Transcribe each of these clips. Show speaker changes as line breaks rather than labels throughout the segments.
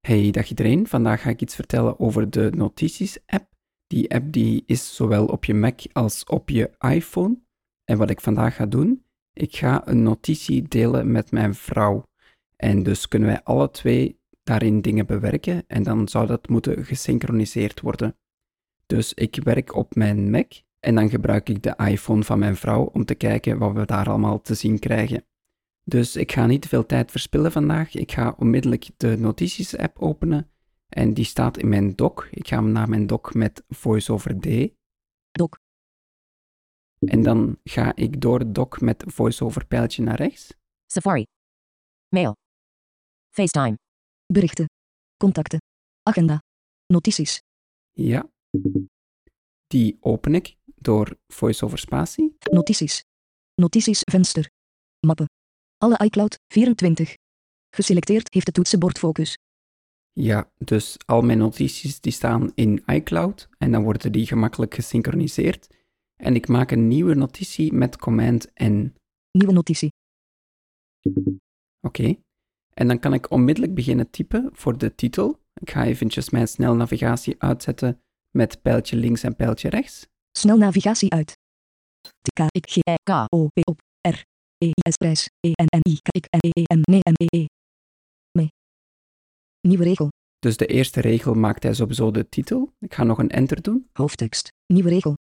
Hey, dag iedereen. Vandaag ga ik iets vertellen over de notities-app. Die app die is zowel op je Mac als op je iPhone. En wat ik vandaag ga doen, ik ga een notitie delen met mijn vrouw. En dus kunnen wij alle twee daarin dingen bewerken en dan zou dat moeten gesynchroniseerd worden. Dus ik werk op mijn Mac en dan gebruik ik de iPhone van mijn vrouw om te kijken wat we daar allemaal te zien krijgen. Dus ik ga niet te veel tijd verspillen vandaag. Ik ga onmiddellijk de notities-app openen en die staat in mijn dock. Ik ga naar mijn dock met VoiceOver D.
Dock.
En dan ga ik door het dock met VoiceOver pijltje naar rechts.
Safari. Mail. FaceTime. Berichten. Contacten. Agenda. Notities.
Ja. Die open ik door VoiceOver spatie.
Notities. Notities venster. Mappen. Alle iCloud 24. Geselecteerd heeft het toetsenbord focus.
Ja, dus al mijn notities die staan in iCloud en dan worden die gemakkelijk gesynchroniseerd. En ik maak een nieuwe notitie met command N.
Nieuwe notitie.
Oké. En dan kan ik onmiddellijk beginnen typen voor de titel. Ik ga eventjes mijn snelnavigatie uitzetten met pijltje links en pijltje rechts.
Snel navigatie uit. T K I Eh, G I K O P op R E I S prijs E N N I K I K N E E M N E E. Mee. Nieuwe regel.
Dus de eerste regel maakt hij sowieso de titel. Ik ga nog een enter doen.
Hoofdtekst. Nieuwe regel.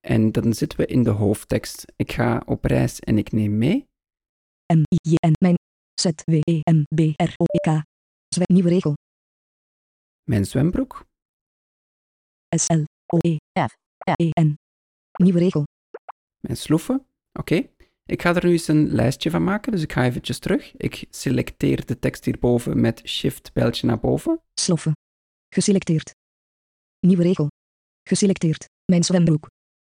En dan zitten we in de hoofdtekst. Ik ga op reis en ik neem mee.
M I J N mijn Z W E M B R O E K. Zwij nieuwe regel.
Mijn zwembroek.
S L O E F E N. Nieuwe regel.
mijn sloeven. Oké, ik ga er nu eens een lijstje van maken, dus ik ga eventjes terug. Ik selecteer de tekst hierboven met shift-pijltje naar boven.
Sloffen. Geselecteerd. Nieuwe regel. Geselecteerd. Mijn zwembroek.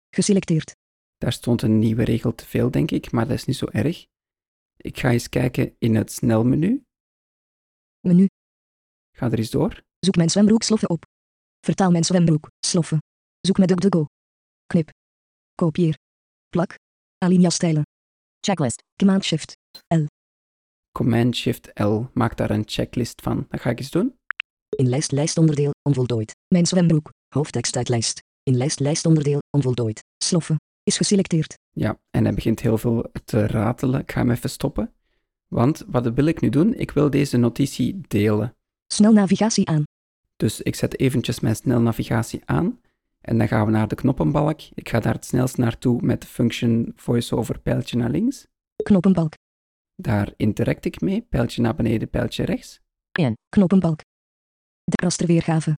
Geselecteerd.
Daar stond een nieuwe regel te veel, denk ik, maar dat is niet zo erg. Ik ga eens kijken in het snelmenu.
Menu.
Ga er eens door.
Zoek mijn zwembroek sloffen op. Vertaal mijn zwembroek sloffen. Zoek met DuckDuckGo. Knip. Kopieer. Plak. Alinea stijlen. Checklist. Command shift.
Command-Shift-L. Maak daar een checklist van. Dat ga ik eens doen.
In lijst lijst onderdeel onvoltooid. Mijn zwembroek. Hoofdtekst uit lijst. In lijst lijst onderdeel onvoltooid. Sloffen. Is geselecteerd.
Ja, en hij begint heel veel te ratelen. Ik ga hem even stoppen. Want wat wil ik nu doen? Ik wil deze notitie delen.
Snel navigatie aan.
Dus ik zet eventjes mijn snelnavigatie aan. En dan gaan we naar de knoppenbalk. Ik ga daar het snelst naartoe met de function voiceover pijltje naar links.
Knoppenbalk.
Daar interact ik mee. Pijltje naar beneden, pijltje rechts.
In. Knoppenbalk. De rasterweergave.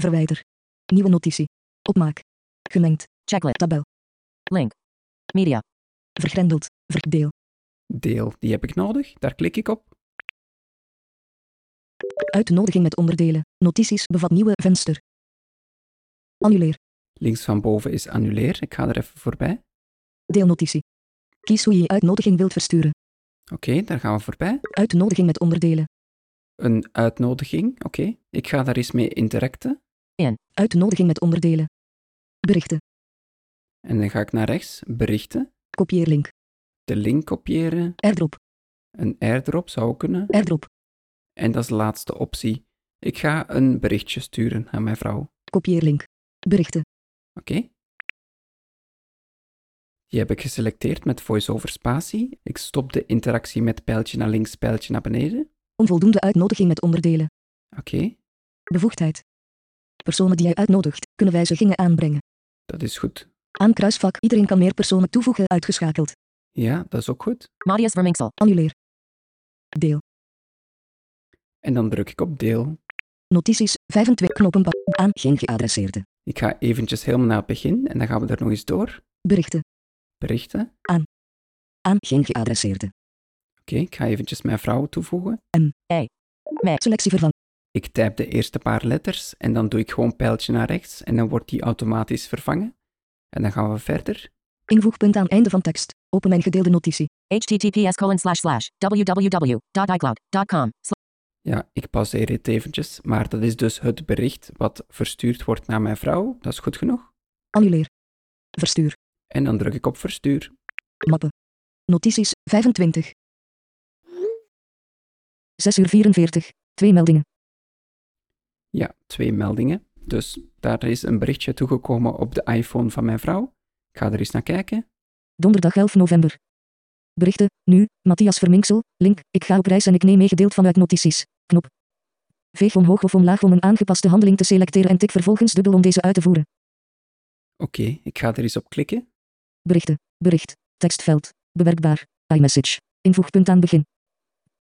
Verwijder. Nieuwe notitie. Opmaak. Gemengd. Checklist. Tabel. Link. Media. Vergrendeld. Verdeel.
Deel, die heb ik nodig. Daar klik ik op.
Uitnodiging met onderdelen. Notities bevat nieuwe venster. Annuleer.
Links van boven is annuleer. Ik ga er even voorbij.
Deelnotitie. Kies hoe je je uitnodiging wilt versturen.
Oké, daar gaan we voorbij.
Uitnodiging met onderdelen.
Een uitnodiging. Oké, ik ga daar eens mee interacten.
Uitnodiging met onderdelen. Berichten.
En dan ga ik naar rechts, berichten.
Kopieerlink.
De link kopiëren.
Airdrop.
Een airdrop zou kunnen.
Airdrop.
En dat is de laatste optie. Ik ga een berichtje sturen aan mijn vrouw.
Kopieerlink. Berichten.
Oké. Die heb ik geselecteerd met voice-over spatie. Ik stop de interactie met pijltje naar links, pijltje naar beneden.
Onvoldoende uitnodiging met onderdelen.
Oké,
Bevoegdheid. Personen die jij uitnodigt, kunnen wijzigingen aanbrengen.
dat is goed.
Aan kruisvak iedereen kan meer personen toevoegen uitgeschakeld.
Ja, dat is ook goed.
Marius Verminksel. Annuleer. Deel.
En dan druk ik op deel.
Notities 25 knoppen ba- aan geen geadresseerde.
Ik ga eventjes helemaal naar het begin en dan gaan we er nog eens door.
Berichten
Berichten. Oké,
aan geen geadresseerde.
ik ga eventjes mijn vrouw toevoegen.
Selectie vervang.
Ik typ de eerste paar letters en dan doe ik gewoon pijltje naar rechts en dan wordt die automatisch vervangen. En dan gaan we verder.
Invoegpunt aan einde van tekst. Open mijn gedeelde notitie.
https colon slash slash www.icloud.com
Ja, ik pauzeer het eventjes, maar dat is dus het bericht wat verstuurd wordt naar mijn vrouw. Dat is goed genoeg.
Annuleer. Verstuur.
En dan druk ik op verstuur.
Mappen. Notities 25. 6 uur 44. Twee meldingen.
Ja, twee meldingen. Dus daar is een berichtje toegekomen op de iPhone van mijn vrouw. Ik ga er eens naar kijken.
Donderdag 11 november. Berichten, nu, Matthias Verminksel, link, ik ga op reis en ik neem meegedeeld vanuit notities, knop. Veeg omhoog of omlaag om een aangepaste handeling te selecteren en tik vervolgens dubbel om deze uit te voeren.
Oké, ik ga er eens op klikken.
Berichten, bericht, tekstveld, bewerkbaar, iMessage, invoegpunt aan begin.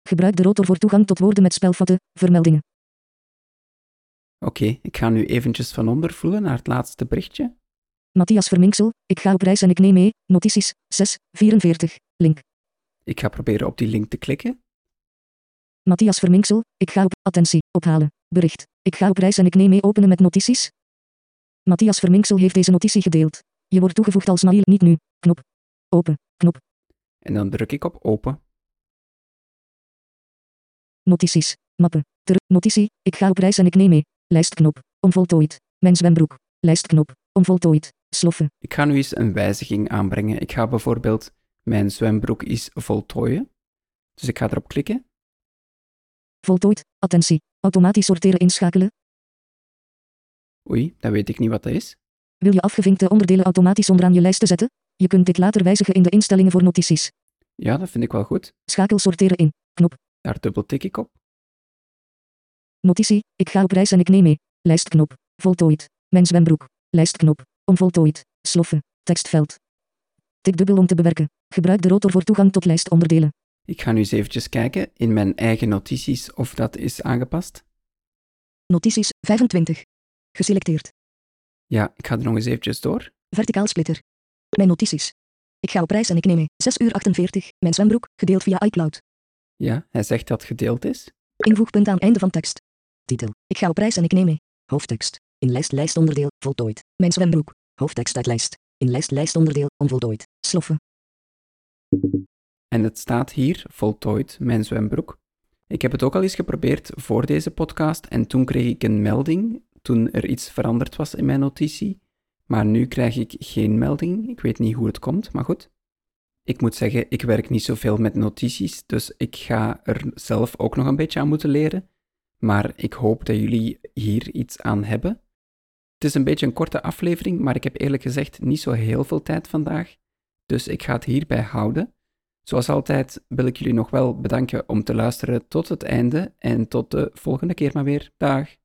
Gebruik de rotor voor toegang tot woorden met spelvatten, vermeldingen.
Oké, ik ga nu eventjes van onder voelen naar het laatste berichtje.
Matthias Verminksel, ik ga op reis en ik neem mee, notities, 6, 44, link.
Ik ga proberen op die link te klikken.
Matthias Verminksel, ik ga op attentie ophalen. Bericht. Ik ga op reis en ik neem mee openen met notities. Matthias Verminksel heeft deze notitie gedeeld. Je wordt toegevoegd als Nail, niet nu. Knop. Open. Knop.
En dan druk ik op open.
Notities. Mappen. Ter. Notitie. Ik ga op reis en ik neem mee. Lijstknop. Onvoltooid. Mijn zwembroek. Lijstknop. Onvoltooid. Sloffen.
Ik ga nu eens een wijziging aanbrengen. Ik ga bijvoorbeeld mijn zwembroek eens voltooien. Dus ik ga erop klikken.
Voltooid. Attentie. Automatisch sorteren inschakelen.
Oei, dan weet ik niet wat dat is.
Wil je afgevinkte onderdelen automatisch onderaan je lijst te zetten? Je kunt dit later wijzigen in de instellingen voor notities.
Ja, dat vind ik wel goed.
Schakel sorteren in.
Daar dubbeltik ik op.
Notitie, ik ga op reis en ik neem mee. Lijstknop. Voltooid. Mijn zwembroek. Lijstknop. Onvoltooid. Sloffen. Tekstveld. Tik dubbel om te bewerken. Gebruik de rotor voor toegang tot lijstonderdelen.
Ik ga nu eens eventjes kijken in mijn eigen notities of dat is aangepast.
Notities 25. Geselecteerd.
Ja, ik ga er nog eens eventjes door.
Verticaal splitter. Mijn notities. Ik ga op reis en ik neem mee. 6 uur 48. Mijn zwembroek, gedeeld via iCloud.
Ja, hij zegt dat het gedeeld is.
Invoegpunt aan einde van tekst. Titel. Ik ga op reis en ik neem mee. Hoofdtekst. In lijst lijstonderdeel, voltooid. Mijn zwembroek. Hoofdtekst uit lijst. In lijst lijstonderdeel, onvoltooid. Sloffen.
En het staat hier voltooid, mijn zwembroek. Ik heb het ook al eens geprobeerd voor deze podcast en toen kreeg ik een melding toen er iets veranderd was in mijn notitie. Maar nu krijg ik geen melding. Ik weet niet hoe het komt, maar goed. Ik moet zeggen, ik werk niet zoveel met notities, dus ik ga er zelf ook nog een beetje aan moeten leren. Maar ik hoop dat jullie hier iets aan hebben. Het is een beetje een korte aflevering, maar ik heb eerlijk gezegd niet zo heel veel tijd vandaag. Dus ik ga het hierbij houden. Zoals altijd wil ik jullie nog wel bedanken om te luisteren tot het einde en tot de volgende keer maar weer. Dag!